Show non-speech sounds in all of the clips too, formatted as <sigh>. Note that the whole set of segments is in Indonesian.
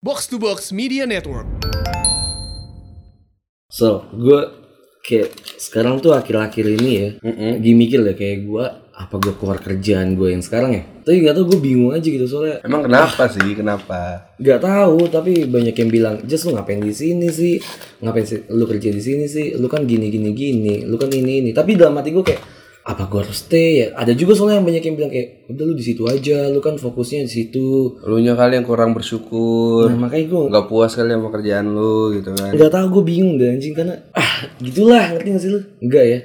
Box to Box Media Network. So, gue kayak sekarang tuh akhir-akhir ini ya, lagi mikir deh kayak gue apa gue keluar kerjaan gue yang sekarang ya. Tapi nggak tau gue bingung aja gitu soalnya Emang kenapa sih? Kenapa? nggak tahu tapi banyak yang bilang just lu ngapain di sini sih ngapain sih lu kerja di sini sih lu kan gini gini gini lu kan ini ini tapi dalam hati gue kayak apa gue harus stay ya ada juga soalnya yang banyak yang bilang kayak udah lu di situ aja lu kan fokusnya di situ Lu kali yang kurang bersyukur, nah makanya gue nggak puas kali sama kerjaan lu gitu kan. nggak tahu gue bingung deh anjing karena ah gitulah ngerti gak sih lu enggak ya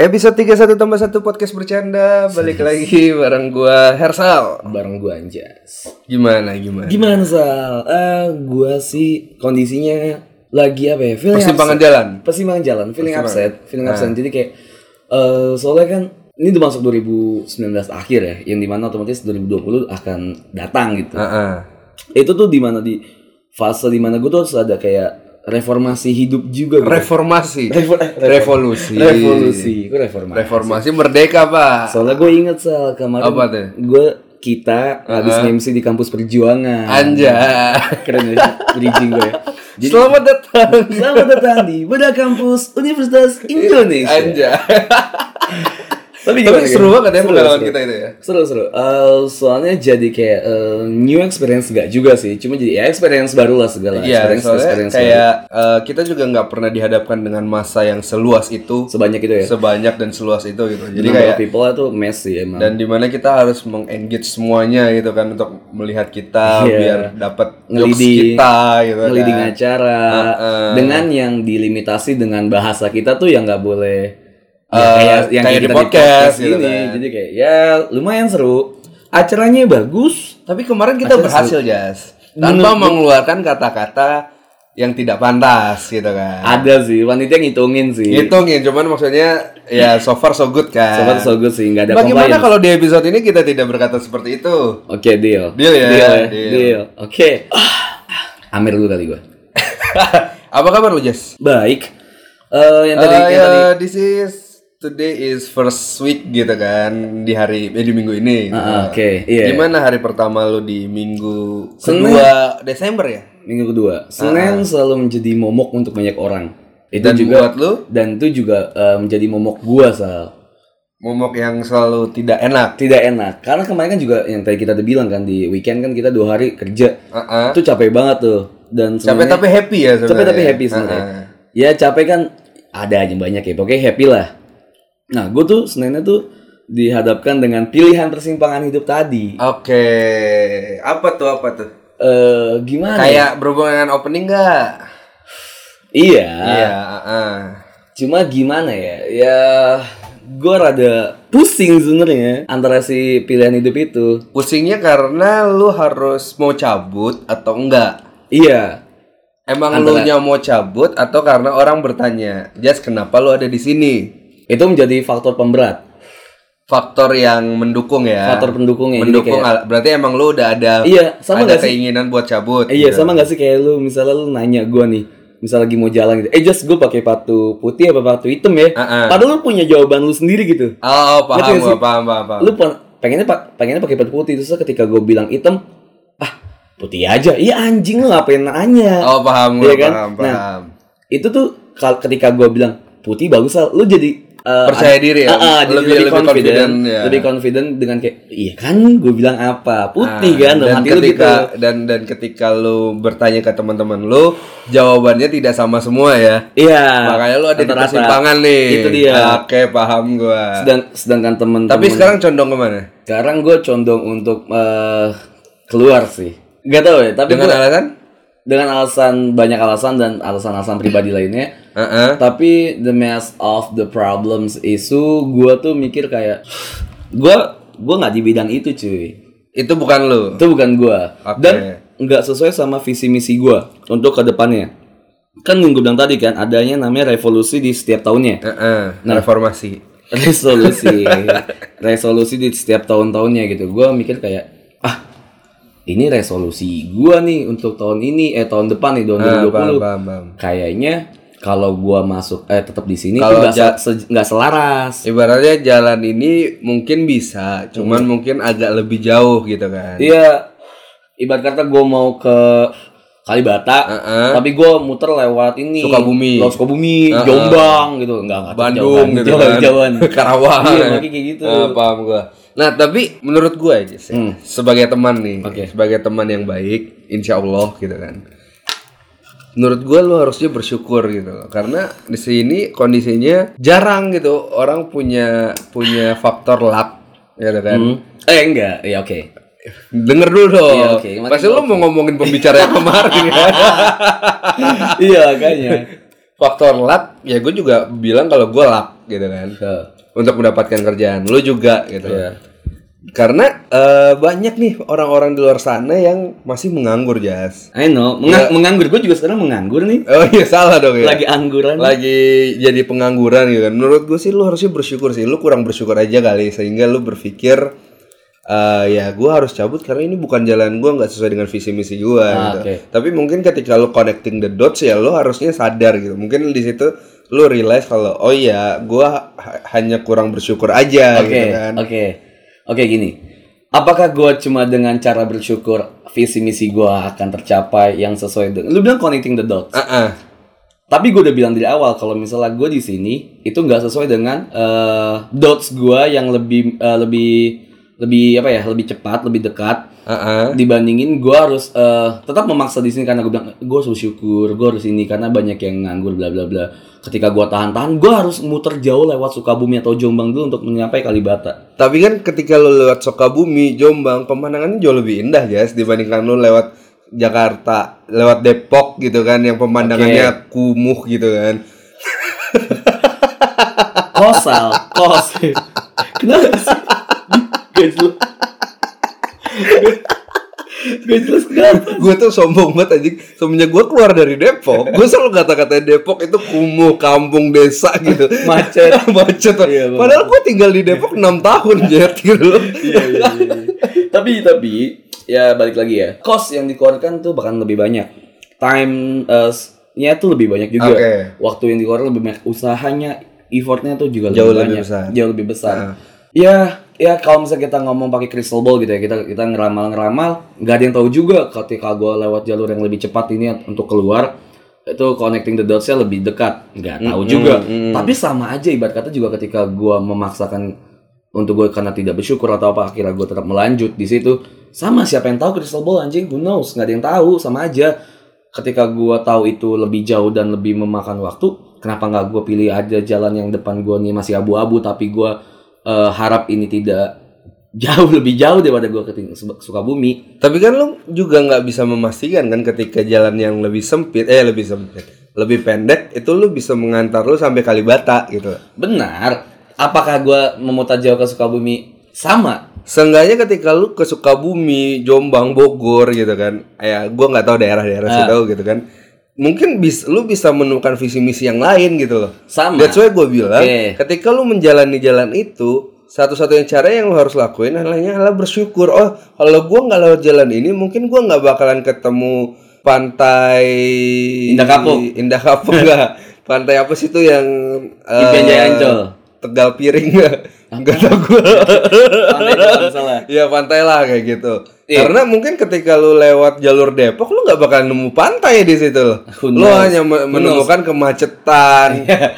Episode 31 tambah 1 podcast bercanda Balik lagi bareng gua Hersal bareng gue anjas Gimana gimana? Gimana Sal? Eh, gua sih kondisinya lagi apa ya? Feeling Persimpangan upset. jalan Ah. Persimpangan jalan, feeling upset, feeling upset. Jadi kayak eh soalnya kan ini udah masuk 2019 akhir ya, yang dimana otomatis 2020 akan datang gitu. Heeh. Itu tuh dimana di fase dimana gue tuh harus ada kayak reformasi hidup juga. Gitu. Reformasi Revo- eh, Revolusi Revolusi, gue reformasi. Reformasi merdeka pak Soalnya gue inget Sal kemarin Apa tuh? Ah. gue kita habis MC di kampus perjuangan. Anjay Keren ya bridging <laughs> gue. Jadi Selamat datang Selamat datang di Beda Kampus Universitas Indonesia. Anjay Tapi Iya. Tapi seru banget ya Iya, Seru, pengalaman seru. kita itu ya Seru seru. Eh, soalnya jadi kayak eh, new experience gak juga sih, cuma jadi ya, experience baru lah segala. Iya, experience soalnya experience kayak eh, kita juga nggak pernah dihadapkan dengan masa yang seluas itu, baru. sebanyak itu ya. sebanyak dan seluas itu gitu. Jadi Number kayak of people tuh mess sih emang. dan dimana kita harus mengengage semuanya gitu kan untuk melihat kita Iya. biar dapat jokes Ngeliding- kita gitu kan. Ngeliding acara uh-uh. dengan yang dilimitasi dengan bahasa kita tuh yang nggak boleh ya, Eh, kita kayak di podcast gitu gini. kan. Jadi kayak ya lumayan seru. Acaranya bagus, Tapi kemarin kita Akhirnya berhasil Jas tanpa mengeluarkan kata-kata yang tidak pantas gitu kan. Ada sih, wanita yang ngitungin sih. Hitungin cuman maksudnya ya so far so good kan. Sobat iya. so good sih, nggak ada Bagaimana compliance. kalau di episode ini kita tidak berkata seperti itu? <laughs> Oke, deal. Deal ya, Deal. deal. deal. Oke. Amir dulu kali gue. Apa kabar lu Jas? Baik. Eh yang tadi, Eh, yang ya, tadi. this is today is first week gitu kan di hari eh, di minggu ini. Ah, Nah, Oke, iya. Gimana hari pertama lu di minggu Senin. kedua Desember ya? Minggu kedua, Senin selalu menjadi momok untuk banyak orang. Itu Dan juga buat lu dan itu juga eh, menjadi momok gua sal. momok yang selalu tidak enak. Tidak enak. Karena kemarin kan juga yang tadi kita udah bilang kan di weekend kan kita dua hari kerja. Ah, ah. Itu capek banget tuh. Dan Capek sebenarnya- tapi happy ya sebenarnya. Capek tapi happy sebenarnya. Ah, ah. Ya capek kan ada aja banyak ya. Pokoknya happy lah. Nah, gue tuh Seninnya tuh dihadapkan dengan pilihan persimpangan hidup tadi. Oke, apa tuh apa tuh? Eh, gimana? ya? Kayak berhubungan dengan opening nggak? Iya. Iya. ah, ah. Cuma gimana ya? Ya gue rada pusing sebenarnya antara si pilihan hidup itu. Pusingnya karena lu harus mau cabut atau enggak? Iya. Emang lu nya mau cabut atau karena orang bertanya, Jas kenapa lu ada di sini? Itu menjadi faktor pemberat, Faktor yang mendukung ya. faktor pendukungnya. Jadi mendukung kayak- al- berarti emang lu udah ada Iya, sama ada nggak sih? keinginan buat cabut. Eh, Iya sama gak sih kayak lu misalnya lu nanya gue nih misal lagi mau jalan gitu eh just gue pakai sepatu putih apa sepatu hitam ya Ah, ah. padahal lu punya jawaban lu sendiri gitu Oh, Ngerti paham nggak gua, sih? paham, paham, paham. lu pen- pengennya pak pengennya pakai sepatu putih terus ketika gue bilang hitam ah putih aja iya anjing lu ngapain nanya Oh, paham gua, Iya kan? paham, Nah, paham. itu tuh kal- ketika gue bilang putih bagus Sal." lu jadi eh, Percaya ad- diri ya? Ah, ah, jadi Lebih- lebih, lebih confident, confident, ya. lebih confident dengan kayak iya kan gue bilang apa putih Nah, kan dalam dan hati lu ketika gitu. dan dan ketika lu bertanya ke teman-teman lu, jawabannya tidak sama semua ya. iya Makanya lu ada di rata-rata. persimpangan nih. Ah, itu dia Oke, paham gua. sedang sedangkan temen Eh, Tapi sekarang condong kemana? sekarang gue condong untuk eh, keluar sih Gak tau ya tapi Dengan gua- alasan? dengan alasan banyak alasan dan alasan-alasan pribadi lainnya Heeh. tapi the mess of the problems isu gue tuh mikir kayak gue gue nggak di bidang itu cuy Itu bukan lu. itu bukan gue Oke. dan nggak sesuai sama visi misi gue untuk kedepannya kan yang gue bilang tadi kan adanya namanya revolusi di setiap tahunnya Heeh. Nah, Reformasi. resolusi <laughs> resolusi di setiap tahun-tahunnya gitu gue mikir kayak ah ini resolusi gue nih untuk tahun ini eh tahun depan nih tahun Ah, 2020 paham, paham, paham. kayaknya kalau gua masuk eh tetap di sini Kalau tuh nggak ja- Iya. se- se- nggak selaras Ibaratnya jalan ini mungkin bisa, cuman mungkin agak lebih jauh gitu kan. Iya. Ibarat kata gue mau ke Kalibata, Heeh. tapi gue muter lewat ini Sukabumi. lewat Sukabumi, Heeh. Jombang gitu, enggak enggak Bandung gitu jauhan, kan. <laughs> jauhan. <laughs> Karawang. Iya, lagi kayak gitu. Eh, paham gua. Nah, tapi menurut gua aja sih, Hmm. sebagai teman nih, Oke. sebagai teman yang baik, insya Allah gitu kan. Menurut gua lu harusnya bersyukur gitu loh. Karena di sini kondisinya jarang gitu orang punya punya faktor luck gitu kan. Hmm. Eh enggak, ya oke. Denger dulu dong. Iya, oke. Makin Pasti lu mau ngomongin pembicara <laughs> yang kemarin kan. <laughs> iya kayaknya. Faktor luck, ya gue juga bilang kalau gue luck gitu kan. Heeh. untuk mendapatkan kerjaan lu juga gitu Iya. karena eh, banyak nih orang-orang di luar sana yang masih menganggur jas I know, Mengang- menganggur gue juga sekarang menganggur nih. oh iya salah dong ya Lagi angguran. Lagi jadi pengangguran gitu kan menurut gue sih lu harusnya bersyukur sih lu kurang bersyukur aja kali sehingga lu berpikir eh, ya gue harus cabut karena ini bukan jalan gue nggak sesuai dengan visi misi gue Ah, gitu. oke. tapi mungkin ketika lu connecting the dots ya lu harusnya sadar gitu mungkin di situ lu realize kalau oh iya gue hanya kurang bersyukur aja Oke, gitu kan oke, oke gini. Apakah gue cuma dengan cara bersyukur visi misi gue akan tercapai yang sesuai dengan? Lu bilang connecting the dots. Ah, ah. Tapi gue udah bilang dari awal kalau misalnya gue di sini itu nggak sesuai dengan eh, dots gue yang lebih eh, lebih lebih apa ya lebih cepat lebih dekat Heeh. dibandingin gue harus eh, tetap memaksa di sini karena gue bilang gue harus bersyukur gue harus ini karena banyak yang nganggur bla bla bla ketika gue tahan tahan gue harus muter jauh lewat Sukabumi atau Jombang dulu untuk mencapai Kalibata Tapi kan ketika lu lewat Sukabumi, Jombang, pemandangannya jauh lebih indah, guys, dibandingkan lu lewat Jakarta, lewat Depok gitu kan yang pemandangannya kumuh gitu kan. <laughs> kosal <laughs> kos kenapa sih gak jelas gak jelas kenapa Gue tuh sombong banget anjing. Semenjak gue keluar dari Depok, gue selalu kata-kata Depok itu kumuh, kampung, desa gitu. <laughs> Macet. <laughs> Macet. Iya, bener. Padahal gue tinggal di <laughs> Depok 6 tahun, Jet, gitu. loh. Iya, iya, iya. <laughs> tapi tapi ya balik lagi ya cost yang dikeluarkan tuh bahkan lebih banyak time eh, nya tuh lebih banyak juga Oke. waktu yang dikeluarkan lebih banyak usahanya effortnya tuh juga Jauh lebih banyak lebih besar. Ah. jauh lebih besar ya ya kalau misalnya kita ngomong pakai crystal ball gitu ya kita kita ngeramal ngeramal nggak ada yang tahu juga ketika gue lewat jalur yang lebih cepat ini untuk keluar itu connecting the dots-nya lebih dekat nggak tahu juga Hmm, tapi sama aja ibarat kata juga ketika gue memaksakan untuk gue karena tidak bersyukur atau apa akhirnya gue tetap melanjut di situ sama siapa yang tahu crystal ball anjing who knows nggak ada yang tahu sama aja ketika gue tahu itu lebih jauh dan lebih memakan waktu kenapa nggak gue pilih aja jalan yang depan gue nih masih abu-abu tapi gue eh, harap ini tidak <laughs> jauh lebih jauh daripada gue ke Sukabumi Tapi kan lu juga nggak bisa memastikan kan ketika jalan yang lebih sempit, eh lebih sempit, lebih pendek itu lu bisa mengantar lu sampai Kalibata gitu. benar apakah gue memutar jauh ke Sukabumi sama Seenggaknya ketika lu ke Sukabumi, Jombang, Bogor gitu kan, ya gua nggak tahu daerah-daerah Ah. situ gitu kan, mungkin bis, lu bisa menemukan visi misi yang lain gitu loh. sama That's why gue bilang, Oke. ketika lu menjalani jalan itu, satu-satunya cara yang lu harus lakuin adalah adalah bersyukur. Oh, kalau gua nggak lewat jalan ini, mungkin gua nggak bakalan ketemu pantai Indah Kapuk. Indah <laughs> Kapuk nggak? pantai apa sih tuh yang eh, Impian Jaya Ancol. Tegal Piring nggak? Nggak tahu gue. Pandai kalau salah Iya pantai lah kayak gitu. Iya. Karena mungkin ketika lu lewat jalur Depok, lu nggak bakal nemu pantai di situ loh. Who Iya, Lu knows? hanya me- menemukan kemacetan,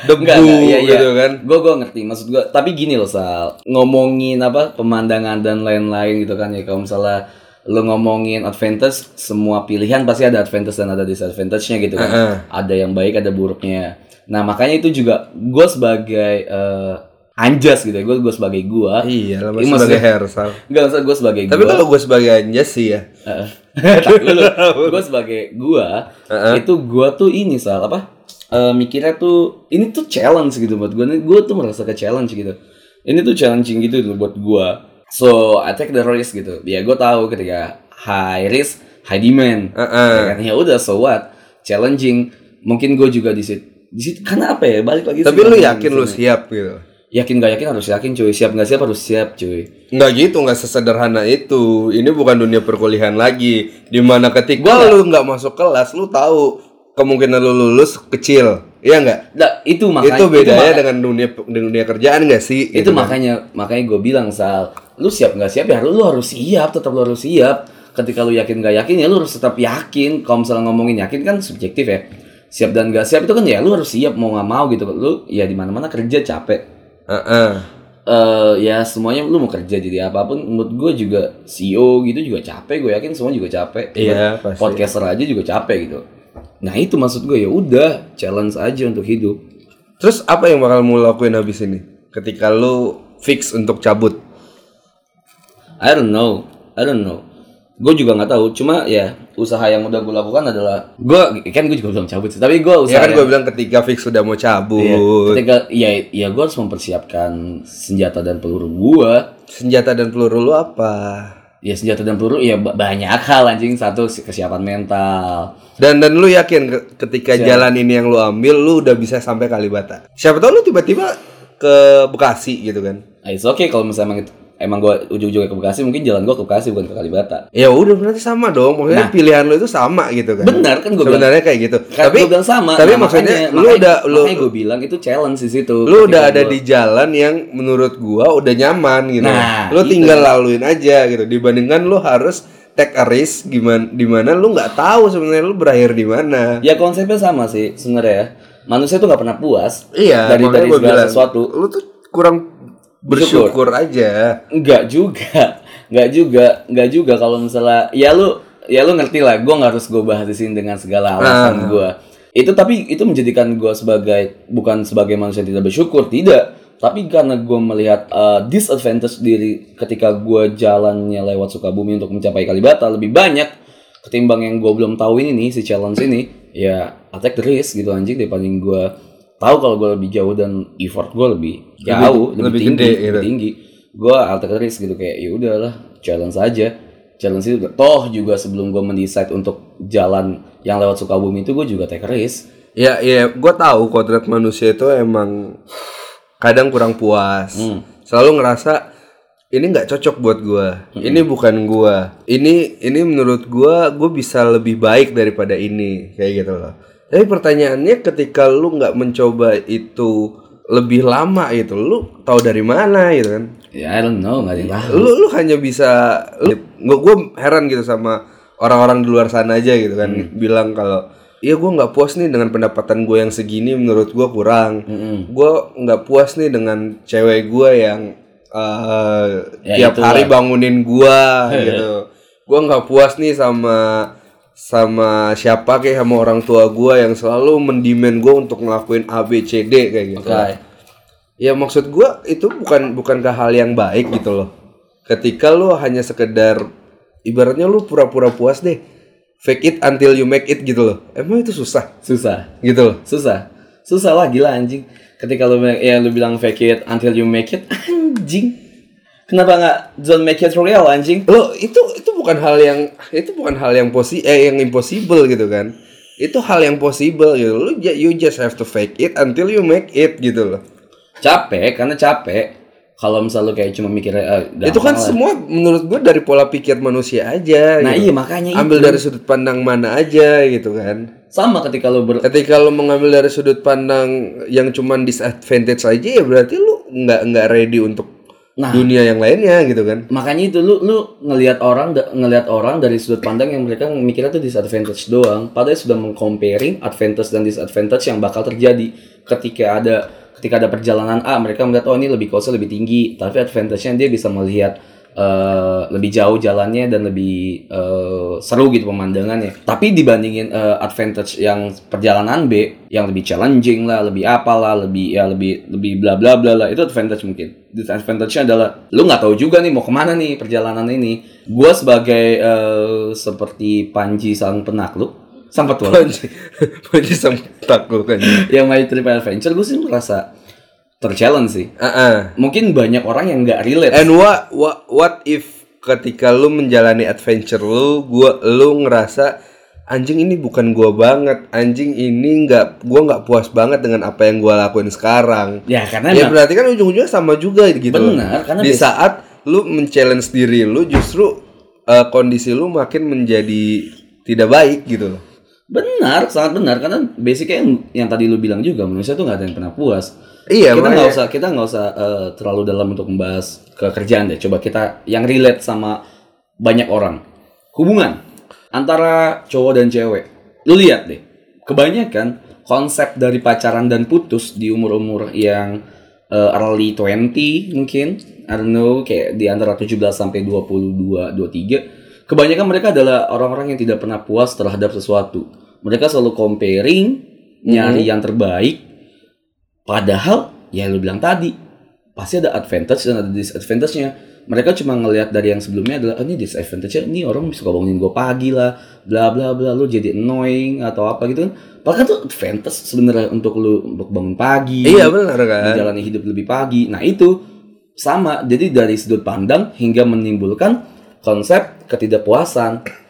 debu iya. gitu kan. Gue gue ngerti maksud gue. Tapi gini loh Sal, ngomongin apa pemandangan dan lain-lain gitu kan ya kalau misalnya lo ngomongin advantage, semua pilihan pasti ada advantage dan ada disadvantage-nya gitu kan. Heeh. Ada yang baik, ada buruknya. Nah makanya itu juga gue sebagai eh, anjas gitu ya, gue gue sebagai gue. Iya, lah Iya, maksudnya- masih Iya. sebagai Hersal. Enggak usah gue sebagai Tapi gua. kalau gue sebagai Anjas sih ya. Iya, Eh, <laughs> gue sebagai gue Heeh. itu gue tuh ini soal apa eh, mikirnya tuh ini tuh challenge gitu buat gue gue tuh merasa ke challenge gitu ini tuh challenging gitu loh buat gue so I take the risk gitu ya gue tahu ketika high risk high demand Heeh. Ya kan? ya udah so what challenging mungkin gue juga di situ di situ karena apa ya balik lagi Tapi sih, lu balik lagi yakin di lu sini. siap gitu. yakin gak yakin harus yakin cuy siap nggak siap harus siap cuy Nggak gitu, nggak sesederhana itu. Ini bukan dunia perkuliahan Iya. lagi. Dimana ketika lu nggak masuk kelas, lu tahu kemungkinan lu lulus kecil. Iya nggak? Nah, itu makanya itu bedanya maka- dengan dunia dengan dunia kerjaan nggak sih? gitu kan? itu makanya makanya gue bilang sal lu siap nggak siap ya lu, lu harus siap tetap lu harus siap ketika lu yakin nggak yakin ya lu harus tetap yakin kalau misalnya ngomongin yakin kan subjektif ya siap dan nggak siap itu kan ya lu harus siap mau nggak mau gitu lu ya di mana mana kerja capek Heeh. Eh ya semuanya lu mau kerja jadi apapun menurut gue juga CEO gitu juga capek gue yakin semua juga capek Iya, Buat pasti. podcaster aja juga capek gitu nah itu maksud gue ya udah challenge aja untuk hidup Terus apa yang bakal mau lakuin habis ini? Ketika lu fix untuk cabut. I don't know, I don't know. Gue juga nggak tahu. Cuma ya usaha yang udah gue lakukan adalah gue kan gue juga belum cabut sih. Tapi gue usaha Ya kan yang- gue bilang ketika fix sudah mau Iya, cabut. ketika ya ya gue harus mempersiapkan senjata dan peluru gue. Senjata dan peluru lu apa? Ya senjata dan peluru ya ba- banyak hal anjing. Satu si- kesiapan mental. Dan dan lu yakin ke- ketika jalan ini yang lu ambil lu udah bisa sampai Kalibata. Siapa tahu lu tiba-tiba ke Bekasi gitu kan. Ah, It's okay kalau misalnya emang, emang gue ujung-ujungnya ke Bekasi mungkin jalan gue ke Bekasi bukan ke Kalibata. Ya udah berarti sama dong. Maksudnya pilihan lu itu sama gitu kan. Nah. Benar kan gue bilang. Sebenarnya kayak gitu. Kan tapi gua bilang sama. Tapi Nah, maksudnya makanya- lu makanya- udah lu makanya gue bilang itu challenge di situ. Ketika lu udah ada gua- di jalan yang menurut gua udah nyaman gitu. Nah, lu itu. tinggal laluin aja gitu. Dibandingkan lu harus take a risk gimana di mana lu nggak tahu sebenarnya lu berakhir di mana. Ya konsepnya sama sih sebenarnya. ya. Manusia tuh nggak pernah puas. Iya, Dari makanya dari gua segala bilang, sesuatu. Lu tuh kurang bersyukur, aja. Enggak juga, enggak juga, enggak juga kalau misalnya ya lu ya lu ngerti lah. Gue nggak harus gue bahas di sini dengan segala alasan gua Itu tapi itu menjadikan gua sebagai bukan sebagai manusia yang tidak bersyukur tidak. Tapi karena gue melihat uh, disadvantage diri ketika gue jalannya lewat Sukabumi untuk mencapai Kalibata lebih banyak ketimbang yang gue belum tahu ini nih si challenge ini ya attack the risk gitu anjing dibanding gue tahu kalau gue lebih jauh dan effort gue lebih jauh lebih, gitu. lebih tinggi, gede, lebih tinggi gue alter risk gitu kayak ya udahlah challenge aja challenge itu toh juga sebelum gue mendesain untuk jalan yang lewat Sukabumi itu gue juga take risk Ya, ya, gua tahu kodrat manusia itu emang kadang kurang puas. Selalu ngerasa ini nggak cocok buat gua. Ini bukan gua. Ini ini menurut gua gua bisa lebih baik daripada ini kayak gitu loh. Tapi pertanyaannya ketika lu nggak mencoba itu lebih lama gitu, lu tahu dari mana gitu kan? ya I don't know nggak ada yang tahu lu lu hanya bisa lu, gua, gua heran gitu sama orang-orang di luar sana aja gitu kan bilang kalau iya gua nggak puas nih dengan pendapatan gue yang segini menurut gua kurang gua nggak puas nih dengan cewek gua yang eh, Ya, tiap hari bangunin gua gitu gua nggak puas nih sama sama siapa kayak sama orang tua gua yang selalu mendemand gua untuk ngelakuin A B C D kayak gitu Kayak, Ya maksud gua itu bukan bukan ke hal yang baik gitu loh. Ketika lu hanya sekedar ibaratnya lu pura-pura puas deh. Fake it until you make it gitu loh. Emang itu susah susah gitu loh. susah susah lah gila anjing ketika lu bilang ya lu bilang fake it until you make it <laughs> anjing kenapa nggak don't make it real anjing Lo itu itu bukan hal yang itu bukan hal yang posi eh yang impossible gitu kan. Itu hal yang possible gitu. Lu ju- you just have to fake it until you make it gitu loh. capek karena capek kalau misalnya lu kayak cuma mikirnya eh, itu gampang lah. kan semua menurut gua dari pola pikir manusia aja. Nah, iya, gitu. makanya ambil dari sudut pandang mana aja gitu kan. sama ketika lu ber ketika lo mengambil dari sudut pandang yang cuman disadvantage aja ya berarti lu nggak nggak ready untuk Nah. dunia yang lainnya gitu <laughs> kan makanya itu lu lu ngelihat orang da- ngelihat orang dari sudut pandang yang mereka mikirnya tuh disadvantage doang padahal sudah mengcomparing advantage dan disadvantage yang bakal terjadi ketika ada ketika ada perjalanan A mereka melihat oh ini lebih costnya lebih tinggi tapi advantage-nya dia bisa melihat eh, lebih jauh jalannya dan lebih eh, seru gitu pemandangannya tapi dibandingin eh, advantage yang perjalanan B yang lebih challenging lah lebih apalah lebih ya lebih lebih bla bla bla lah itu advantage mungkin disadvantage-nya adalah lu nggak tahu juga nih mau kemana nih perjalanan ini. Gua sebagai eh, seperti Panji sang penakluk, sang petualang panji panji sama takut kan yang main trip adventure, gue sih merasa terchallenge sih. Ah, ah. Mungkin banyak orang yang nggak relate. and what, what what if ketika lu menjalani adventure lu gua lu ngerasa anjing ini bukan gua banget anjing ini nggak gua nggak puas banget dengan apa yang gua lakuin sekarang ya karena Ya emang- berarti kan ujung-ujungnya sama juga gitu. loh. Benar, karena di biasa- saat lu men-challenge diri lu justru eh, kondisi lu makin menjadi tidak baik gitu loh. Benar, sangat benar karena basicnya yang, yang tadi lu bilang juga manusia tuh nggak ada yang pernah puas. kita Iya, nggak makanya. usah kita nggak usah eh, terlalu dalam untuk membahas kekerjaan deh. Coba kita yang relate sama banyak orang. Hubungan antara cowok dan cewek. Lu lihat deh. Kebanyakan konsep dari pacaran dan putus di umur-umur yang eh, early 20 mungkin. I don't know kayak di antara 17 sampai 22, 23. Kebanyakan mereka adalah orang-orang yang tidak pernah puas terhadap sesuatu. Mereka selalu comparing, Mm-hmm. nyari yang terbaik Padahal ya lu bilang tadi pasti ada advantage dan ada disadvantage-nya. Mereka cuma ngelihat dari yang sebelumnya adalah oh, ini disadvantage-nya ini orang suka bangunin gue pagi lah, bla bla bla lu jadi annoying atau apa gitu kan. Padahal tuh advantage sebenarnya untuk lu untuk bangun pagi. Iya benar kan. menjalani hidup lebih pagi. Nah, itu sama. Jadi dari sudut pandang hingga menimbulkan konsep ketidakpuasan.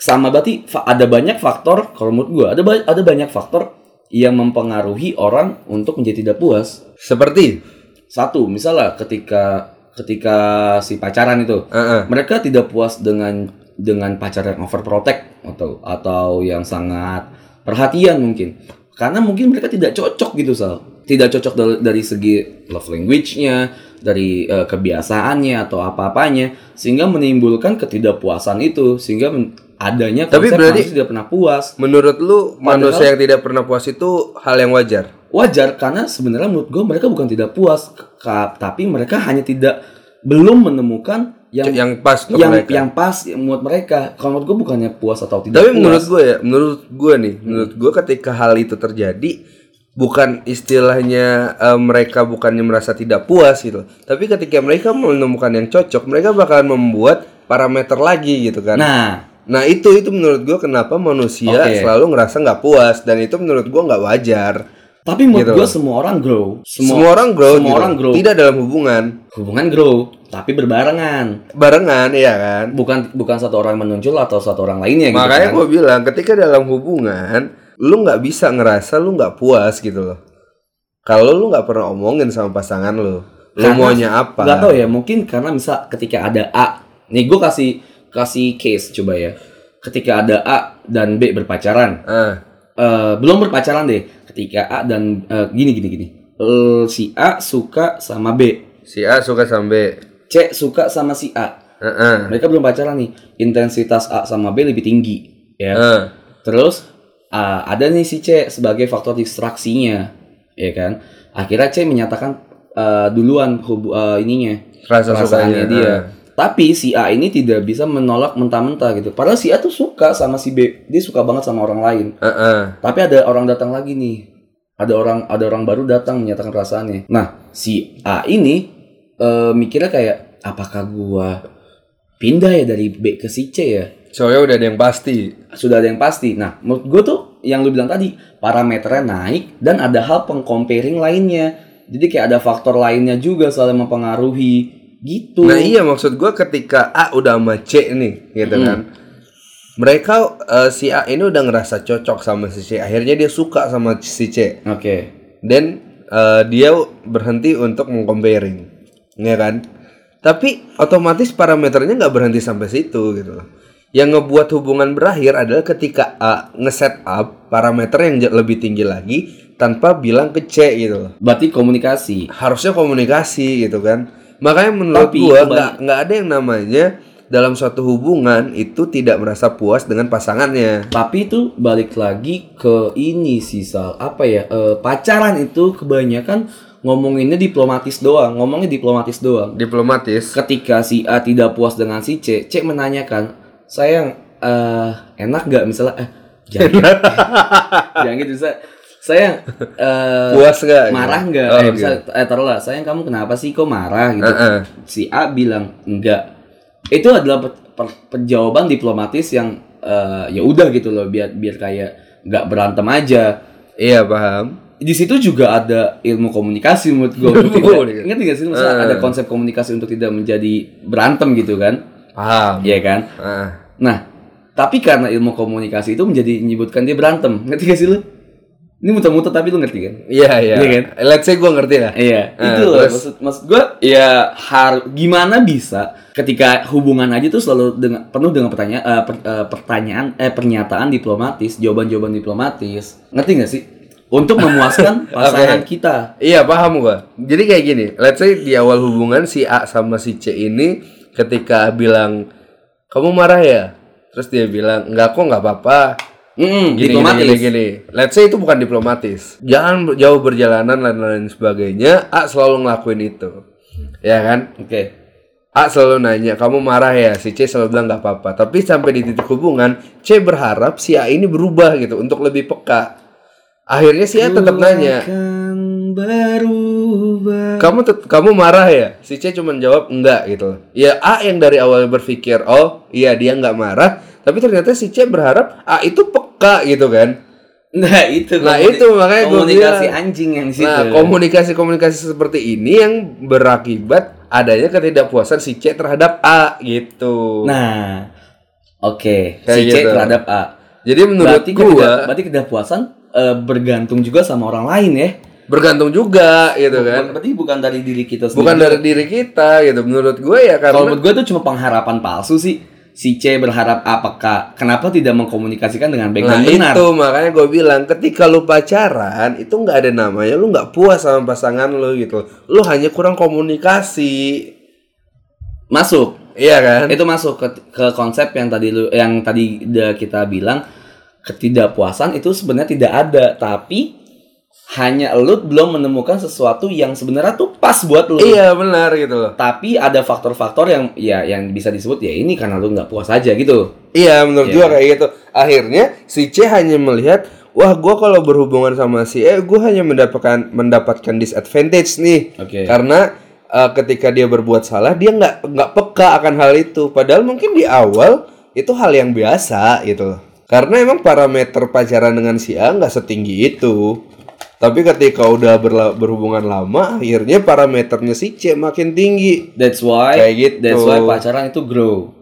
Sama berarti fa- ada banyak faktor kalau menurut gua ada ba- ada banyak faktor yang mempengaruhi orang untuk menjadi tidak puas. Seperti Satu, misalnya ketika ketika si pacaran itu, Heeh. mereka tidak puas dengan dengan pacar yang overprotect atau atau yang sangat perhatian mungkin. Karena mungkin mereka tidak cocok gitu Sal. Tidak cocok dal- dari, segi love language-nya, dari eh, kebiasaannya atau apa-apanya sehingga menimbulkan ketidakpuasan itu sehingga men- adanya Tapi konsep berarti- manusia tidak pernah puas. menurut lu manusia yang tidak pernah puas itu hal yang wajar. wajar karena sebenarnya menurut gue mereka bukan tidak puas ka- tapi mereka hanya tidak belum menemukan yang yang Yang pas untuk yang, mereka. pas buat mereka kalau menurut gue bukannya puas atau tidak puas. Tapi menurut gue ya, menurut gue nih, menurut gue ketika hal itu terjadi bukan istilahnya eh, mereka bukannya merasa tidak puas gitu, tapi ketika mereka menemukan yang cocok, mereka bakalan membuat parameter lagi gitu kan. Nah, nah itu itu menurut gue kenapa manusia Oke. selalu ngerasa nggak puas dan itu menurut gue nggak wajar. tapi menurut Gitu gue loh. semua orang grow Semua, orang grow, semua gitu. orang grow. tidak dalam hubungan hubungan grow tapi berbarengan barengan ya kan. bukan bukan satu orang menonjol atau satu orang lainnya gitu Makanya kan. gue bilang ketika dalam hubungan lu nggak bisa ngerasa lu nggak puas gitu loh. Kalau lu nggak pernah omongin sama pasangan lu, lu Karena- maunya apa? nggak tahu ya mungkin karena misal ketika ada A nih gue kasih kasih case coba ya ketika ada A dan B berpacaran Ah, eh belum berpacaran deh ketika A dan eh, gini gini gini Eh, si A suka sama B si A suka Ah, sampai C suka sama si A mereka belum pacaran nih intensitas A sama B lebih tinggi ya Eh. terus ah, ada nih si C sebagai faktor distraksinya ya kan akhirnya C menyatakan eh, duluan hubu- eh, ininya rasa perasaannya sukanya eh. dia tapi si A ini tidak bisa menolak mentah-mentah gitu padahal si A tuh suka sama si B dia suka banget sama orang lain Ah, ah, ah. tapi ada orang datang lagi nih. Ada orang ada orang baru datang menyatakan perasaannya. Nah, si A ini eh, mikirnya kayak apakah gua pindah ya dari B ke si C ya? Soalnya udah ada yang pasti. Sudah ada yang pasti. Nah, menurut gua tuh yang lu bilang tadi, parameternya naik dan ada hal pengcomparing lainnya. Jadi kayak ada faktor lainnya juga soalnya mempengaruhi gitu. Nah iya maksud gue ketika A udah sama C nih gitu Hmm. kan Mereka eh, si A ini udah ngerasa cocok sama si C Akhirnya dia suka sama si C Oke. Dan eh, dia berhenti untuk mengcomparing Ya kan Tapi otomatis parameternya nggak berhenti sampai situ gitu loh Yang ngebuat hubungan berakhir adalah ketika A nge-set up parameter yang j- lebih tinggi lagi Tanpa bilang ke C gitu loh Berarti komunikasi. harusnya komunikasi gitu kan makanya menurut Tapi, gua kebalik- nggak nggak ada yang namanya dalam suatu hubungan itu tidak merasa puas dengan pasangannya Tapi itu balik lagi ke ini sih Sal. Apa ya? eh, pacaran itu kebanyakan ngomonginnya diplomatis doang, ngomongnya diplomatis doang. diplomatis Ketika si A tidak puas dengan si C, C menanyakan, "Sayang, eh enak nggak misalnya eh jangan gitu. jangan gitu, Sal. Sayang, eh puas nggak marah nggak? Oh, eh, gitu. misal- eh taruhlah, sayang kamu kenapa sih kok marah gitu? Heeh. si A bilang enggak. Itu adalah pe- per- penjawaban diplomatis yang eh, ya udah gitu loh biar biar kayak nggak berantem aja. iya paham Di situ juga ada ilmu komunikasi menurut <laughs> gue. Komunikasi. Ingat nggak sih maksudnya Eh. ada konsep komunikasi untuk tidak menjadi berantem gitu kan? paham Iya kan? Ah. Nah, tapi karena ilmu komunikasi itu menjadi menyebutkan dia berantem. Ngerti gak sih lu? Ini muter-muter tapi lu ngerti kan? Iya iya. Iya kan? Let's say gue ngerti lah. Iya, Eh, itu loh terus? maksud maksud gue ya har gimana bisa ketika hubungan aja tuh selalu dengan penuh dengan pertanyaan eh, per- eh, pertanyaan eh pernyataan diplomatis, jawaban-jawaban diplomatis. Ngerti nggak sih? Untuk <laughs> memuaskan pasangan kita. Iya paham gue. Jadi kayak gini, let's say di awal hubungan si A sama si C ini ketika bilang kamu marah ya, terus dia bilang enggak kok nggak apa-apa. Mm, Gini, diplomatis. Gini, gini, gini. Let's say itu bukan diplomatis. Jangan ber- jauh berjalanan dan lain sebagainya. A selalu ngelakuin itu, ya kan? Oke. A selalu nanya, kamu marah ya? Si C selalu bilang nggak apa-apa. Tapi sampai di titik hubungan, C berharap si A ini berubah gitu untuk lebih peka. Akhirnya si A tetap nanya, Akan berubah. kamu tet- kamu marah ya? Si C cuma jawab enggak gitu. Ya A yang dari awal berpikir, oh iya dia nggak marah. Tapi ternyata si C berharap A itu peka gitu kan. Nah itu. Nah, komuni- itu makanya gua komunikasi bilang. anjing yang di situ. ya. Nah komunikasi-komunikasi seperti ini yang berakibat adanya ketidakpuasan si C terhadap A gitu. Nah, oke. Kayak Si C gitu. terhadap A. Jadi menurut berarti gua ketidak- berarti ketidakpuasan eh, bergantung juga sama orang lain ya. bergantung juga gitu kan. Bukan- Berarti bukan dari diri kita sendiri. Bukan dari diri kita gitu. Menurut gue ya Kalau karena menurut gue itu cuma pengharapan palsu sih. Si C berharap A peka. Kenapa tidak mengkomunikasikan dengan baik nah dan benar? itu makanya gue bilang ketika lu pacaran itu nggak ada namanya lu nggak puas sama pasangan lu gitu. Lu hanya kurang komunikasi. Masuk. Iya kan? Itu masuk ke, ke konsep yang tadi lu yang tadi udah kita bilang ketidakpuasan itu sebenarnya tidak ada, tapi hanya lu belum menemukan sesuatu yang sebenarnya tuh pas buat lu. Iya benar gitu loh. tapi ada faktor-faktor yang ya yang bisa disebut ya ini karena lu nggak puas aja gitu Iya menurut Iya. gue kayak gitu. Akhirnya si C hanya melihat Wah, gue kalau berhubungan sama si E, gue hanya mendapatkan mendapatkan disadvantage nih, Oke. karena eh, ketika dia berbuat salah, dia nggak nggak peka akan hal itu. Padahal mungkin di awal itu hal yang biasa gitu loh. Karena emang parameter pacaran dengan si A nggak setinggi itu. Tapi ketika udah berla- berhubungan lama, akhirnya parameternya si C makin tinggi. that's why Kayak gitu. that's why pacaran itu grow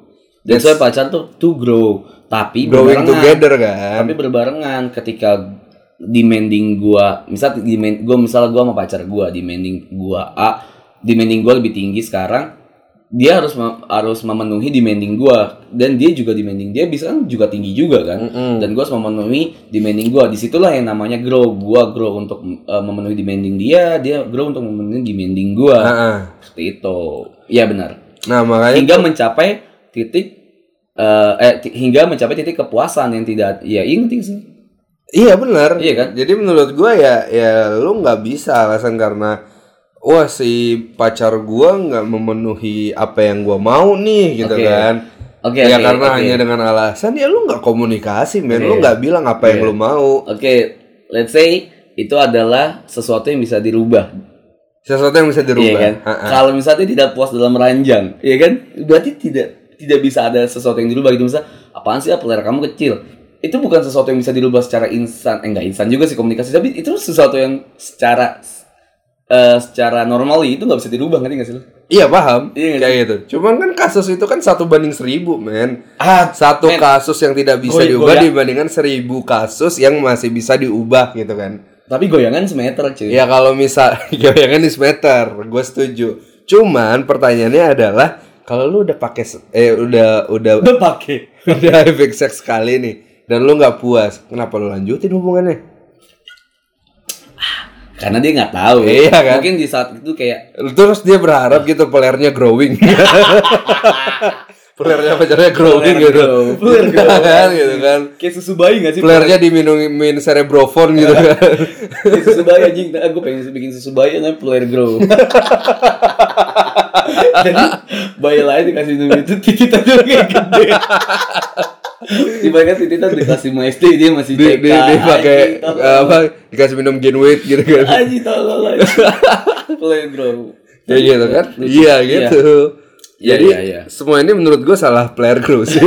that's why pacaran tuh to grow tapi Growing berbarengan together kan. tapi berbarengan ketika demanding gua misal demand gua misal gua sama pacar gua demanding gua A demanding gua lebih tinggi sekarang dia harus mem- harus memenuhi demanding gua dan dia juga demanding dia bisa kan juga tinggi juga kan dan gua harus memenuhi demanding gua disitulah yang namanya grow gua grow untuk eh, memenuhi demanding dia dia grow untuk memenuhi demanding gua Heeh. seperti itu ya benar Nah makanya hingga mencapai titik eh, eh ti- hingga mencapai titik kepuasan yang tidak ya ini penting sih Iya benar. Iya kan? Jadi menurut gua ya ya lu nggak bisa alasan karena wah si pacar gua nggak memenuhi apa yang gua mau nih gitu Oke. kan. Oke, ya oke, karena oke. Iya. hanya dengan alasan ya lu nggak komunikasi men, lu Oke. nggak bilang apa yang Oke. lu mau. Oke, let's say itu adalah sesuatu yang bisa dirubah, Sesuatu yang bisa dirubah. iya kan? Ha-ha. Kalau misalnya tidak puas dalam ranjang, iya kan? Berarti tidak tidak bisa ada sesuatu yang dirubah gitu misalnya, apaan sih apel kamu kecil? Itu bukan sesuatu yang bisa dirubah secara instan, eh enggak instan juga sih komunikasi, tapi itu sesuatu yang secara eh, secara normally itu nggak bisa dirubah ngerti nggak sih lo? Iya paham. Iya nggak Kayak gitu. Cuman kan kasus itu kan satu banding seribu men. Ah, Satu men. kasus yang tidak bisa Gua- gua diubah ya- dibandingkan seribu kasus yang masih bisa diubah gitu kan. Tapi goyangan semeter cuy. Ya kalau misal <laughs> goyangan di meter, gue setuju. Cuman pertanyaannya adalah kalau lu udah pakai se- eh udah udah <laughs> Udah pakai. udah having sex sekali nih dan lu nggak puas, kenapa lu lanjutin hubungannya? Karena dia nggak tahu. Iya kan? Mungkin di saat itu kayak Terus dia berharap gitu pelernya growing. <laughs> pelernya pacarnya growing Peler gitu. grow. <laughs> Peler grow. Iya <laughs> kan gitu kan. kayak susu bayi nggak sih? Pelernya diminumin cerebrofon Iya. gitu kan. <laughs> Kayak susu bayi anjing. Nah, gue pengen bikin susu bayi namanya player <laughs> grow. Jadi bayi lain dikasih minum itu tititan juga kayak <laughs> gede. Dibandingkan tititan dikasih sama SD dia masih Dia, TK. dia, dia pakai Anjing, tolol. apa dikasih minum gain weight gitu kan. Anjing tolol aja. <laughs> Player grow. Ya gitu kan? Iya gitu. Iya, Jadi iya, iya. semua ini menurut gue salah player grow <laughs> sih.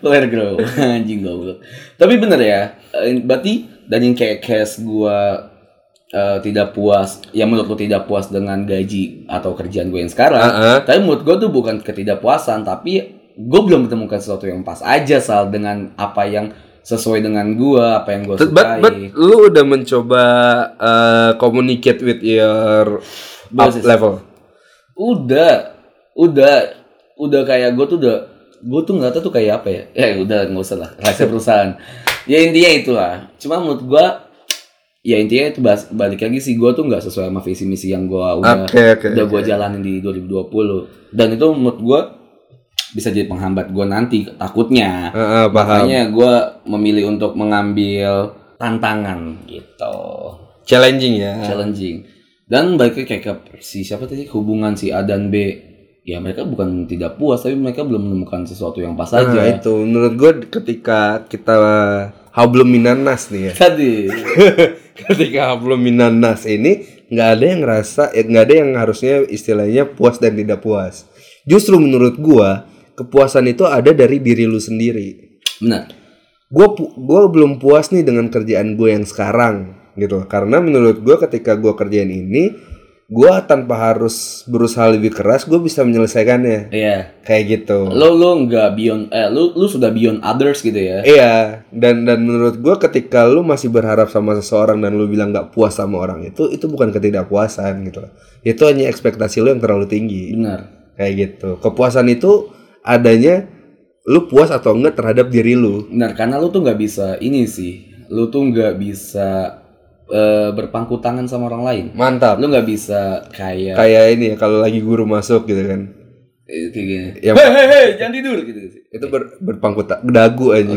Player grow <laughs> anjing goblok. Tapi bener ya, eh, berarti dan yang kayak case gua eh, tidak puas, ya menurut lu tidak puas dengan gaji atau kerjaan gue yang sekarang. Heeh. Tapi menurut gue tuh bukan ketidakpuasan, tapi gue belum menemukan sesuatu yang pas aja sal dengan apa yang sesuai dengan gua apa yang gua But, but, sukai but lu udah mencoba uh, communicate with your up Bosses. level. udah udah udah kayak gue tuh udah gue tuh nggak tahu tuh kayak apa ya ya udah nggak usah lah rahasia perusahaan ya intinya itulah cuma menurut gue ya intinya itu bas- balik lagi sih gue tuh nggak sesuai sama visi misi yang gue udah Oke, oke, udah gue jalanin di 2020 dan itu menurut gue bisa jadi penghambat gue nanti takutnya Heeh, paham. makanya gue memilih untuk mengambil tantangan gitu Challenging ya. challenging dan balik lagi kayak ke si siapa tadi hubungan si A dan B ya mereka bukan tidak puas tapi mereka belum menemukan sesuatu yang pas aja Nah, itu menurut gue ketika kita hablum minanas nih ya. <laughs> <laughs> tadi ketika hablum minanas ini nggak ada yang ngerasa eh, nggak ada yang harusnya istilahnya puas dan tidak puas. Justru menurut gua kepuasan itu ada dari diri lu sendiri. benar gue gua belum puas nih dengan kerjaan gue yang sekarang gitu karena menurut gue ketika gue kerjaan ini gue tanpa harus berusaha lebih keras gue bisa menyelesaikannya iya kayak gitu lo lo nggak beyond eh lo lo sudah beyond others gitu ya iya dan dan menurut gue ketika lu masih berharap sama seseorang dan lu bilang nggak puas sama orang itu itu bukan ketidakpuasan gitu itu hanya ekspektasi lu yang terlalu tinggi benar kayak gitu kepuasan itu adanya lu puas atau enggak terhadap diri lu benar karena lo tuh nggak bisa ini sih lo tuh nggak bisa eh, berpangku tangan sama orang lain mantap lo nggak bisa kayak kayak ini ya kalau lagi guru masuk gitu kan eh, kayak gini Yang- hei hei hei jangan tidur gitu sih Ya, itu ber, berpangku ta- dagu aja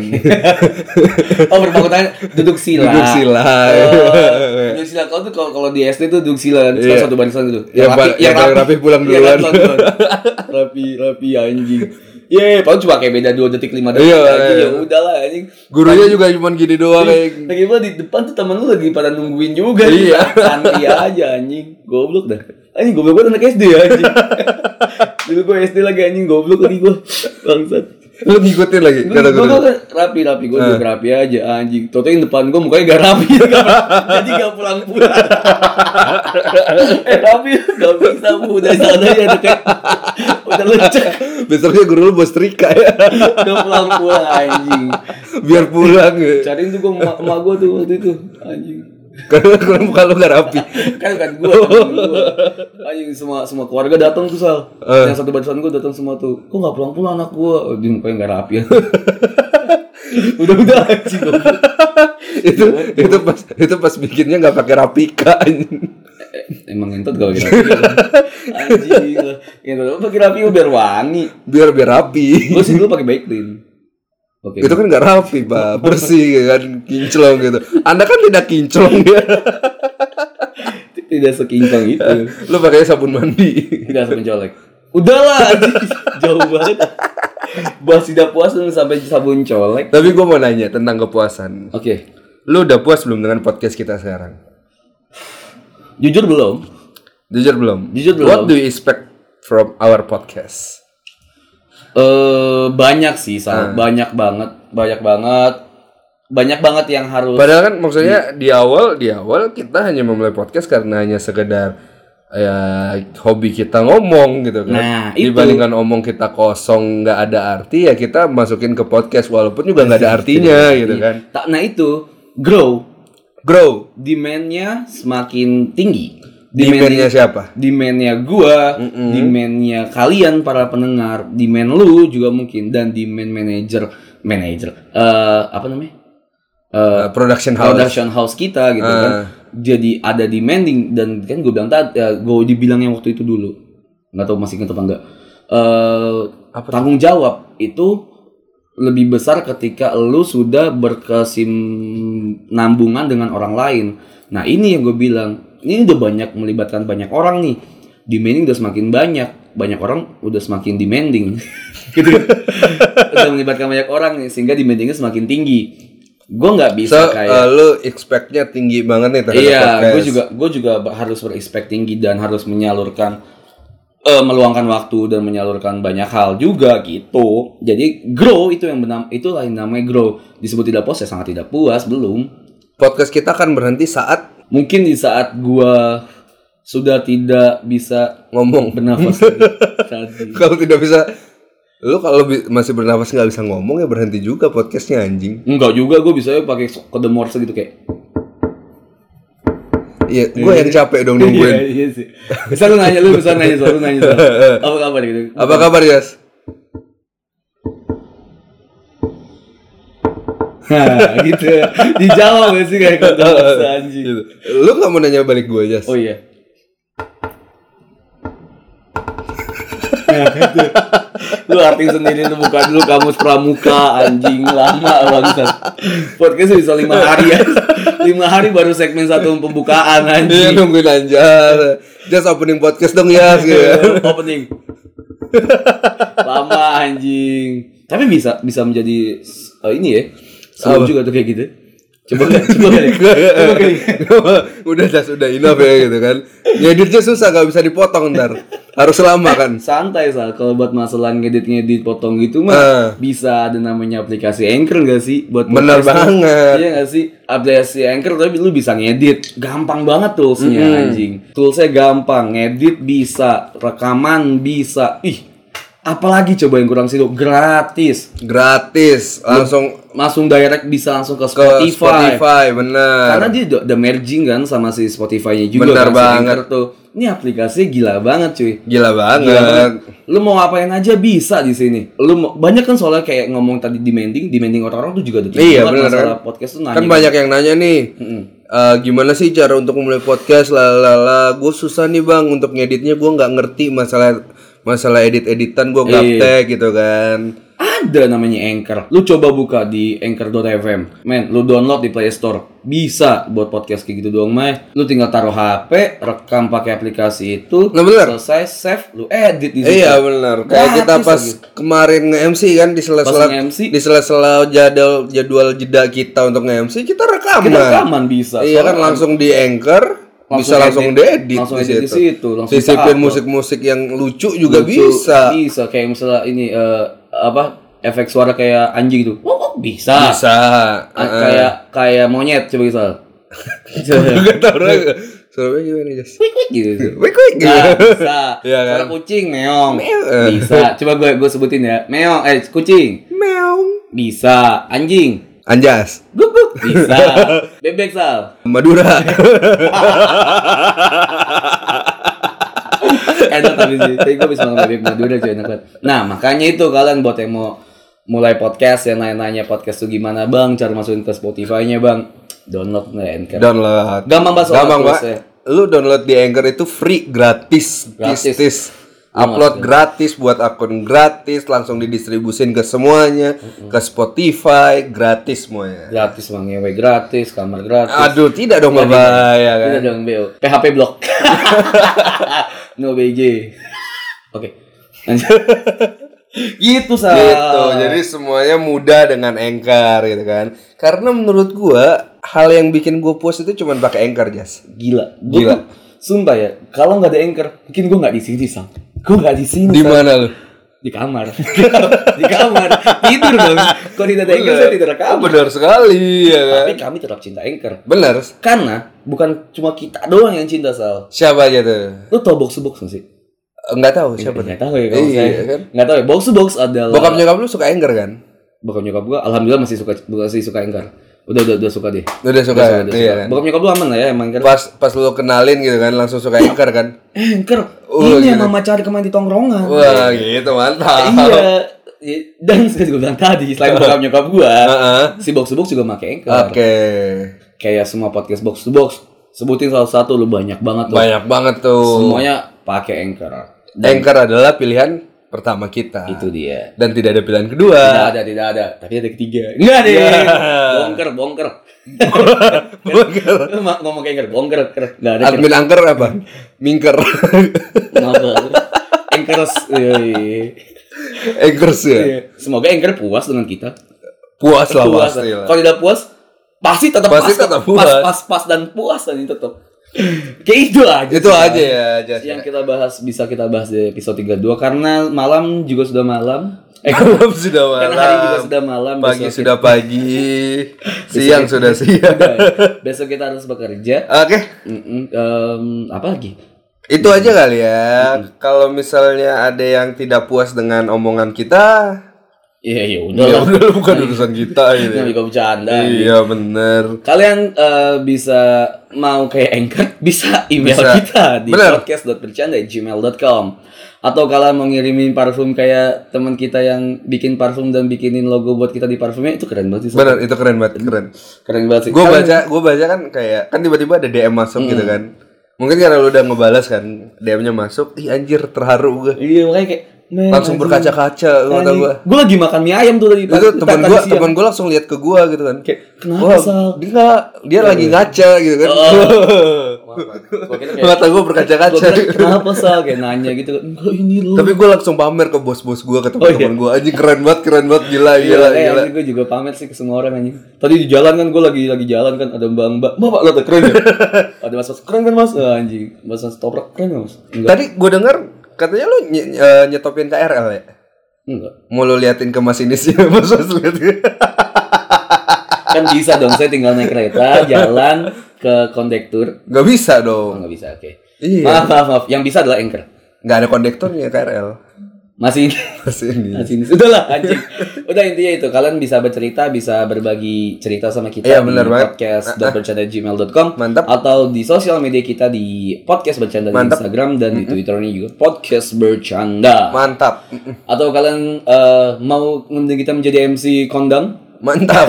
oh berpangku tangan duduk sila duduk sila Eh, duduk sila kalau tuh kalau kalau di SD tuh duduk sila Iya. satu barisan gitu Yang pa- yang paling rapi pulang Iya, duluan. kan, pulang rapi rapi anjing Iya, paling cuma kayak beda 2 detik 5 detik Iya, lagi iya. ya udahlah anjing. gurunya juga cuma gini doang kayak Lagi pula di depan tuh temen lu lagi pada nungguin juga Iya. nih, Santai aja anjing. Goblok dah. Anjing goblok banget anak SD ya anjing. <laughs> Dulu gue SD lagi anjing goblok lagi gue. Bangsat. lu ngikutin lagi Gue kata guru rapi rapi gue juga rapi aja anjing. Toto yang depan gue mukanya gak rapi, <laughs> jadi gak pulang pulang. eh tapi gak bisa Bu. udah sana ya deket, udah lecek, besoknya guru lu bos trika <laughs> ya gak pulang pulang anjing. biar pulang ya. Cariin tuh gue emak emak gue tuh waktu itu anjing. karena karena muka lu gak rapi kan kan gue anjing semua semua keluarga datang tuh sal Eh. yang satu barisan gue datang semua tuh kok nggak pulang pulang anak gue oh, dia mukanya nggak rapi udah udah anjing goblok. itu itu pas itu pas bikinnya nggak pakai rapika anjing. Eh, Emang ngentot gak pakai rapi? ya? <laughs> Anjing lah. Ngentot apa pakai rapi biar wangi. biar biar rapi Gue sih dulu pakai Baiklin. Oke. itu kan gak rapi <laughs> pak bersih kan kinclong gitu anda kan tidak kinclong ya Tidak sekincang itu. lu pakai sabun mandi Tidak semencolek. Udahlah, anjing. <laughs> jauh banget. Bahas tidak puas lu sampai sabun colek. tapi gue mau nanya tentang kepuasan Oke. lu udah puas belum dengan podcast kita sekarang Jujur belum? Jujur belum? Jujur belum. What do you expect from our podcast? Eh banyak sih, Ah. Sal. banyak banget, banyak banget, banyak banget yang harus. Padahal kan Iya. maksudnya di awal di awal kita hanya memulai podcast karena hanya sekedar ya hobi kita ngomong gitu kan. Nah, itu. Dibandingkan omong kita kosong nggak ada arti ya kita masukin ke podcast walaupun juga nggak ada Iya, artinya gitu kan. Tak, nah itu grow, Grow. demandnya semakin tinggi. Demandnya siapa? demandnya gua, demandnya kalian para pendengar, demand lu juga mungkin dan demand manager, manager, eh apa namanya? Eh Uh, production house. production house kita gitu kan. Eh. Jadi ada demanding dan kan gue bilang tadi, ya, gue dibilangnya waktu itu dulu, nggak tahu masih ingat apa enggak. Eh Apa tanggung jawab itu lebih besar ketika lu sudah berkesinambungan dengan orang lain. Nah ini yang gue bilang, ini udah banyak melibatkan banyak orang nih. Demanding udah semakin banyak, banyak orang udah semakin demanding, <laughs> <laughs> gitu. udah melibatkan banyak orang nih, sehingga demandingnya semakin tinggi. Gue nggak So, bisa kayak uh, lu expect-nya tinggi banget nih terhadap podcast. Iya, gue juga gue juga ber- harus berespek tinggi dan harus menyalurkan eh, meluangkan waktu dan menyalurkan banyak hal juga gitu. Jadi grow itu yang benam itu lain namanya grow. Disebut tidak puas ya sangat tidak puas belum. Podcast kita akan berhenti saat Mungkin di saat gua sudah tidak bisa ngomong. <laughs> bernafas lagi. Tadi. Kalau tidak bisa Lu kalau bi- masih bernafas nggak bisa ngomong ya berhenti juga podcastnya anjing. Enggak juga gue bisa pakai kode morse gitu kayak. Iya, gue yang capek dong Iya, nungguin. iya sih. Bisa lu nanya lu bisa nanya soal lu nanya <laughs> soal. Apa kabar gitu. Apa kabar, Yas? Nah, gitu. Dijawab gak sih kayak kode morse anjing. Gitu. Lu nggak mau nanya balik gue, Yas? Oh iya. <laughs> lu artiin sendiri lu buka dulu kamus pramuka anjing lama bangsat podcast bisa lima hari ya lima hari baru segmen satu pembukaan Iya, anjing nungguin anjar. Just opening podcast dong, Iya, Yas. <laughs> Gitu. opening lama anjing tapi bisa bisa menjadi eh, ini ya seru juga tuh kayak gitu <laughs> coba coba kali coba kali udah das udah enough ya gitu kan ngeditnya susah gak bisa dipotong ntar harus lama kan santai sal kalau buat masalah ngedit ngedit potong gitu Ah. mah bisa ada namanya aplikasi anchor nggak sih buat podcast Bener tuh? banget. iya nggak sih aplikasi anchor tapi lu bisa ngedit gampang banget toolsnya anjing toolsnya gampang ngedit bisa rekaman bisa ih apalagi coba yang kurang situ gratis gratis langsung langsung direct bisa langsung ke ke Spotify, Spotify, bener Karena dia udah- udah merging kan sama si Spotify-nya juga kan, Bener si banget. Anchor tuh. Ini aplikasi gila banget cuy. Gila gila banget banget. Lu mau ngapain aja bisa di sini. Lu mau- banyak kan soalnya kayak ngomong tadi demanding, demanding orang-orang tuh juga ada banget iya bener masalah kan podcast tuh nanya. gitu. kan banyak yang nanya nih eh, gimana sih cara untuk mulai podcast lalala gue susah nih bang untuk ngeditnya gue nggak ngerti masalah masalah edit Iya. editan gue gaptek gitu kan Ada namanya Anchor. Lu coba buka di anchor.fm. Men, lu download di Play Store. Bisa buat podcast kayak gitu doang, Mai. Lu tinggal taruh HP, rekam pakai aplikasi itu, Nah, bener. selesai save, lu edit di situ. Iya benar. Kayak Gratis kita pas lagi. kemarin nge-MC kan di sela-sela Pas nge-MC. di sela-sela jadwal jadwal jeda kita untuk nge-MC kita rekaman. Kita rekaman bisa. Iya Soalnya kan langsung di anchor Langsung bisa langsung edit. diedit Langsung di edit di situ. situ, langsung Sisipin bisa musik-musik yang lucu juga Lucu, iya. bisa. bisa kayak misalnya ini eh, apa efek suara kayak anjing gitu oh, oh, bisa, Bisa. Ah, kayak kayak monyet coba gitu <laughs> Gak tau orang. Surabaya gimana, Jas? gitu Wik wik gitu. Nah, bisa Iya kan? suara kucing meong Meong. bisa coba gue gue sebutin ya meong eh kucing Meong. bisa anjing Anjas. guguk <laughs> bisa bebek sal Madura. enak tapi sih tapi gue bisa makan bebek madura cuy enak banget nah makanya itu kalian buat yang mau mulai podcast yang nanya-nanya podcast tuh gimana bang cara masukin ke Spotify-nya bang download nih Anchor download. Gampang banget soalnya Gampang Pak. tulisnya. Lu download di Anchor itu free gratis. Gratis. Tis, tis. Upload gratis buat akun gratis, langsung didistribusin ke semuanya, ke Spotify, gratis semuanya. gratis bang ngewe gratis kamar gratis Aduh, tidak dong Bapak ya kan. Udah dong BO PHP <laughs> blok no BJ oke lanjut gitu sal Gitu. Jadi semuanya mudah dengan Anchor gitu kan. Karena menurut gua hal yang bikin gua puas itu cuman pakai Anchor, Jas. gila Gua Gila. tuh, sumpah ya kalau nggak ada anchor mungkin gue nggak di sini sal gue nggak di sini Di Sal. mana lu? di kamar <laughs> di kamar tidur dong kalau tidak ada anchor saya Kan tidak rekam Oh, Benar sekali ya kan. tapi kami tetap cinta anchor Benar. karena bukan cuma kita doang yang cinta sal Siapa aja tuh? lu tau box to box nggak sih Enggak tahu siapa. nggak tahu ya kalau Iya, saya kan? nggak tahu ya box to box adalah Bokap nyokap lu suka Anchor kan? bokap nyokap gua alhamdulillah masih suka masih suka anchor udah udah udah suka deh Udah suka, Udah udah iya kan? Bokap nyokap lu aman lah ya emang anchor Pas pas lu kenalin gitu kan langsung suka Anchor kan? eh, anchor Oh, ini yang gitu. mama cari kemarin di tongkrongan Wah gitu mantap. iya dan seperti gue bilang tadi selain bokap nyokap gua Heeh. si box to box juga pakai anchor Oke. kayak semua podcast box to box sebutin salah satu lu banyak banget tuh Banyak banget tuh. semuanya pakai anchor Anchor adalah pilihan pertama kita. itu dia Dan tidak ada pilihan kedua. tidak ada tidak ada tapi ada ketiga enggak deh Iya. bongker bongker Bongker. Lu ma- ngomong kayak anchor bongker ker. nggak ada ker. Admin Anchor apa? <laughs> Minker. Kenapa? anchors iya, iya, iya. Anchors ya. Iya. semoga anchor puas dengan kita Puas lah puas pasti lah. kalau tidak puas pasti tetap iya. Pasti pas, tetap pas, puas. pas pas dan puas tadi tetap kayak itu aja Itu sih, aja ya, Jas. yang kita bahas bisa kita bahas di episode 32 karena malam juga sudah malam eh <laughs> Malam sudah malam. Karena hari juga sudah malam, Pagi besok kita- sudah <laughs> pagi. siang sudah Iya, siang. besok kita harus bekerja Oke. Mm-mm, em, apa lagi Itu aja kali ya. Kalau misalnya ada yang tidak puas dengan omongan kita, Iya, iya, udah ya lah. udah bukan urusan kita gitu. Ini ya. juga bercanda. Iya bener. Kalian eh, bisa mau kayak anchor <laughs> bisa email Bisa. kita di Bener. podcast.bercanda@gmail.com atau kalian mau ngirimin parfum kayak teman kita yang bikin parfum dan bikinin logo buat kita di parfumnya itu keren banget sih. Bener itu keren banget, keren. Keren banget sih. Gue Kalian- Mm. baca, gue baca kan kayak kan tiba-tiba ada DM masuk gitu kan. Mungkin karena lu udah ngebalas kan, DM-nya masuk, ih anjir terharu gue. Iya makanya kayak "Men, Langsung anjing, berkaca-kaca mata anjing." gue. Gue lagi makan mie ayam tuh tadi Itu tadi- temen tadi gue, siang. temen gue langsung lihat ke gue gitu kan. Kayak, "Kenapa, Wah, Sal?" dia nggak, dia lagi ngaca gitu kan. <laughs> Gua kira kayak- Mata gue Oh. gua berkaca-kaca. kira, Kenapa sal kayak nanya gitu Enggak ini lo Tapi gue langsung pamer ke bos-bos gue ke teman-teman gue aja keren banget keren banget gila gila Oh, Iya, gila. gue juga pamer sih ke semua orang anjing. Tadi di jalan kan gue lagi lagi jalan kan ada mbak mbak, mbak pak lo tuh keren <laughs> ya. ada mas mas keren kan mas, Ah, anjing, mas mas toprak keren nggak mas? Enggak, Tadi gue dengar katanya lu ny- eh, nyetopin KRL ya. enggak. Mau lu liatin ke ya? <laughs> masinisnya bos bos liatin. Kan bisa dong, saya tinggal naik <laughs> kereta, jalan ke kondektur. Gak bisa Oh, dong. nggak bisa, oke. Iya. Maaf, maaf, maaf. Yang bisa adalah anchor. Gak ada kondektornya KRL. Masih Masih ini. Masih ini. Udah lah, anjing. Udah intinya itu. Kalian bisa bercerita, bisa berbagi cerita sama kita Iya, di bener banget. podcast.bercanda@gmail.com Mantap. atau di sosial media kita di podcast bercanda di Mantap. Instagram dan di Twitternya juga podcast bercanda. Mantap. Atau kalian eh, mau ngundang kita menjadi MC kondang? Mantap.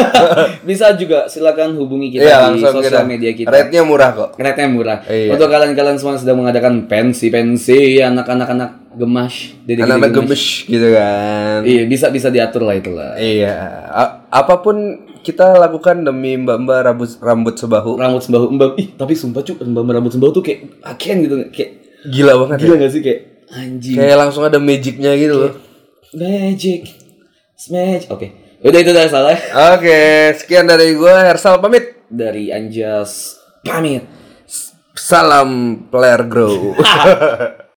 bisa juga silakan hubungi <laughs> kita Iya di langsung sosial kita. media kita. Rate-nya murah kok. Keretnya murah. Iya. Untuk kalian-kalian semua yang sedang mengadakan pensi-pensi anak-anak anak gemas, dedek-dedek Anak-anak gemes gitu kan. Iya, bisa bisa diatur lah itulah. Iya. A- apapun kita lakukan demi mbak-mbak rambut rambut sebahu. rambut sembahu embab ih tapi sumpah cu embab rambut sembahu tuh kayak aken gitu kayak Gila banget. ya. gila gak sih kayak anjing Kayak langsung ada magicnya gitu loh. magic smash oke udah itu udah salah Oke, sekian dari gue Hersal pamit. dari Anjas pamit Salam player grow.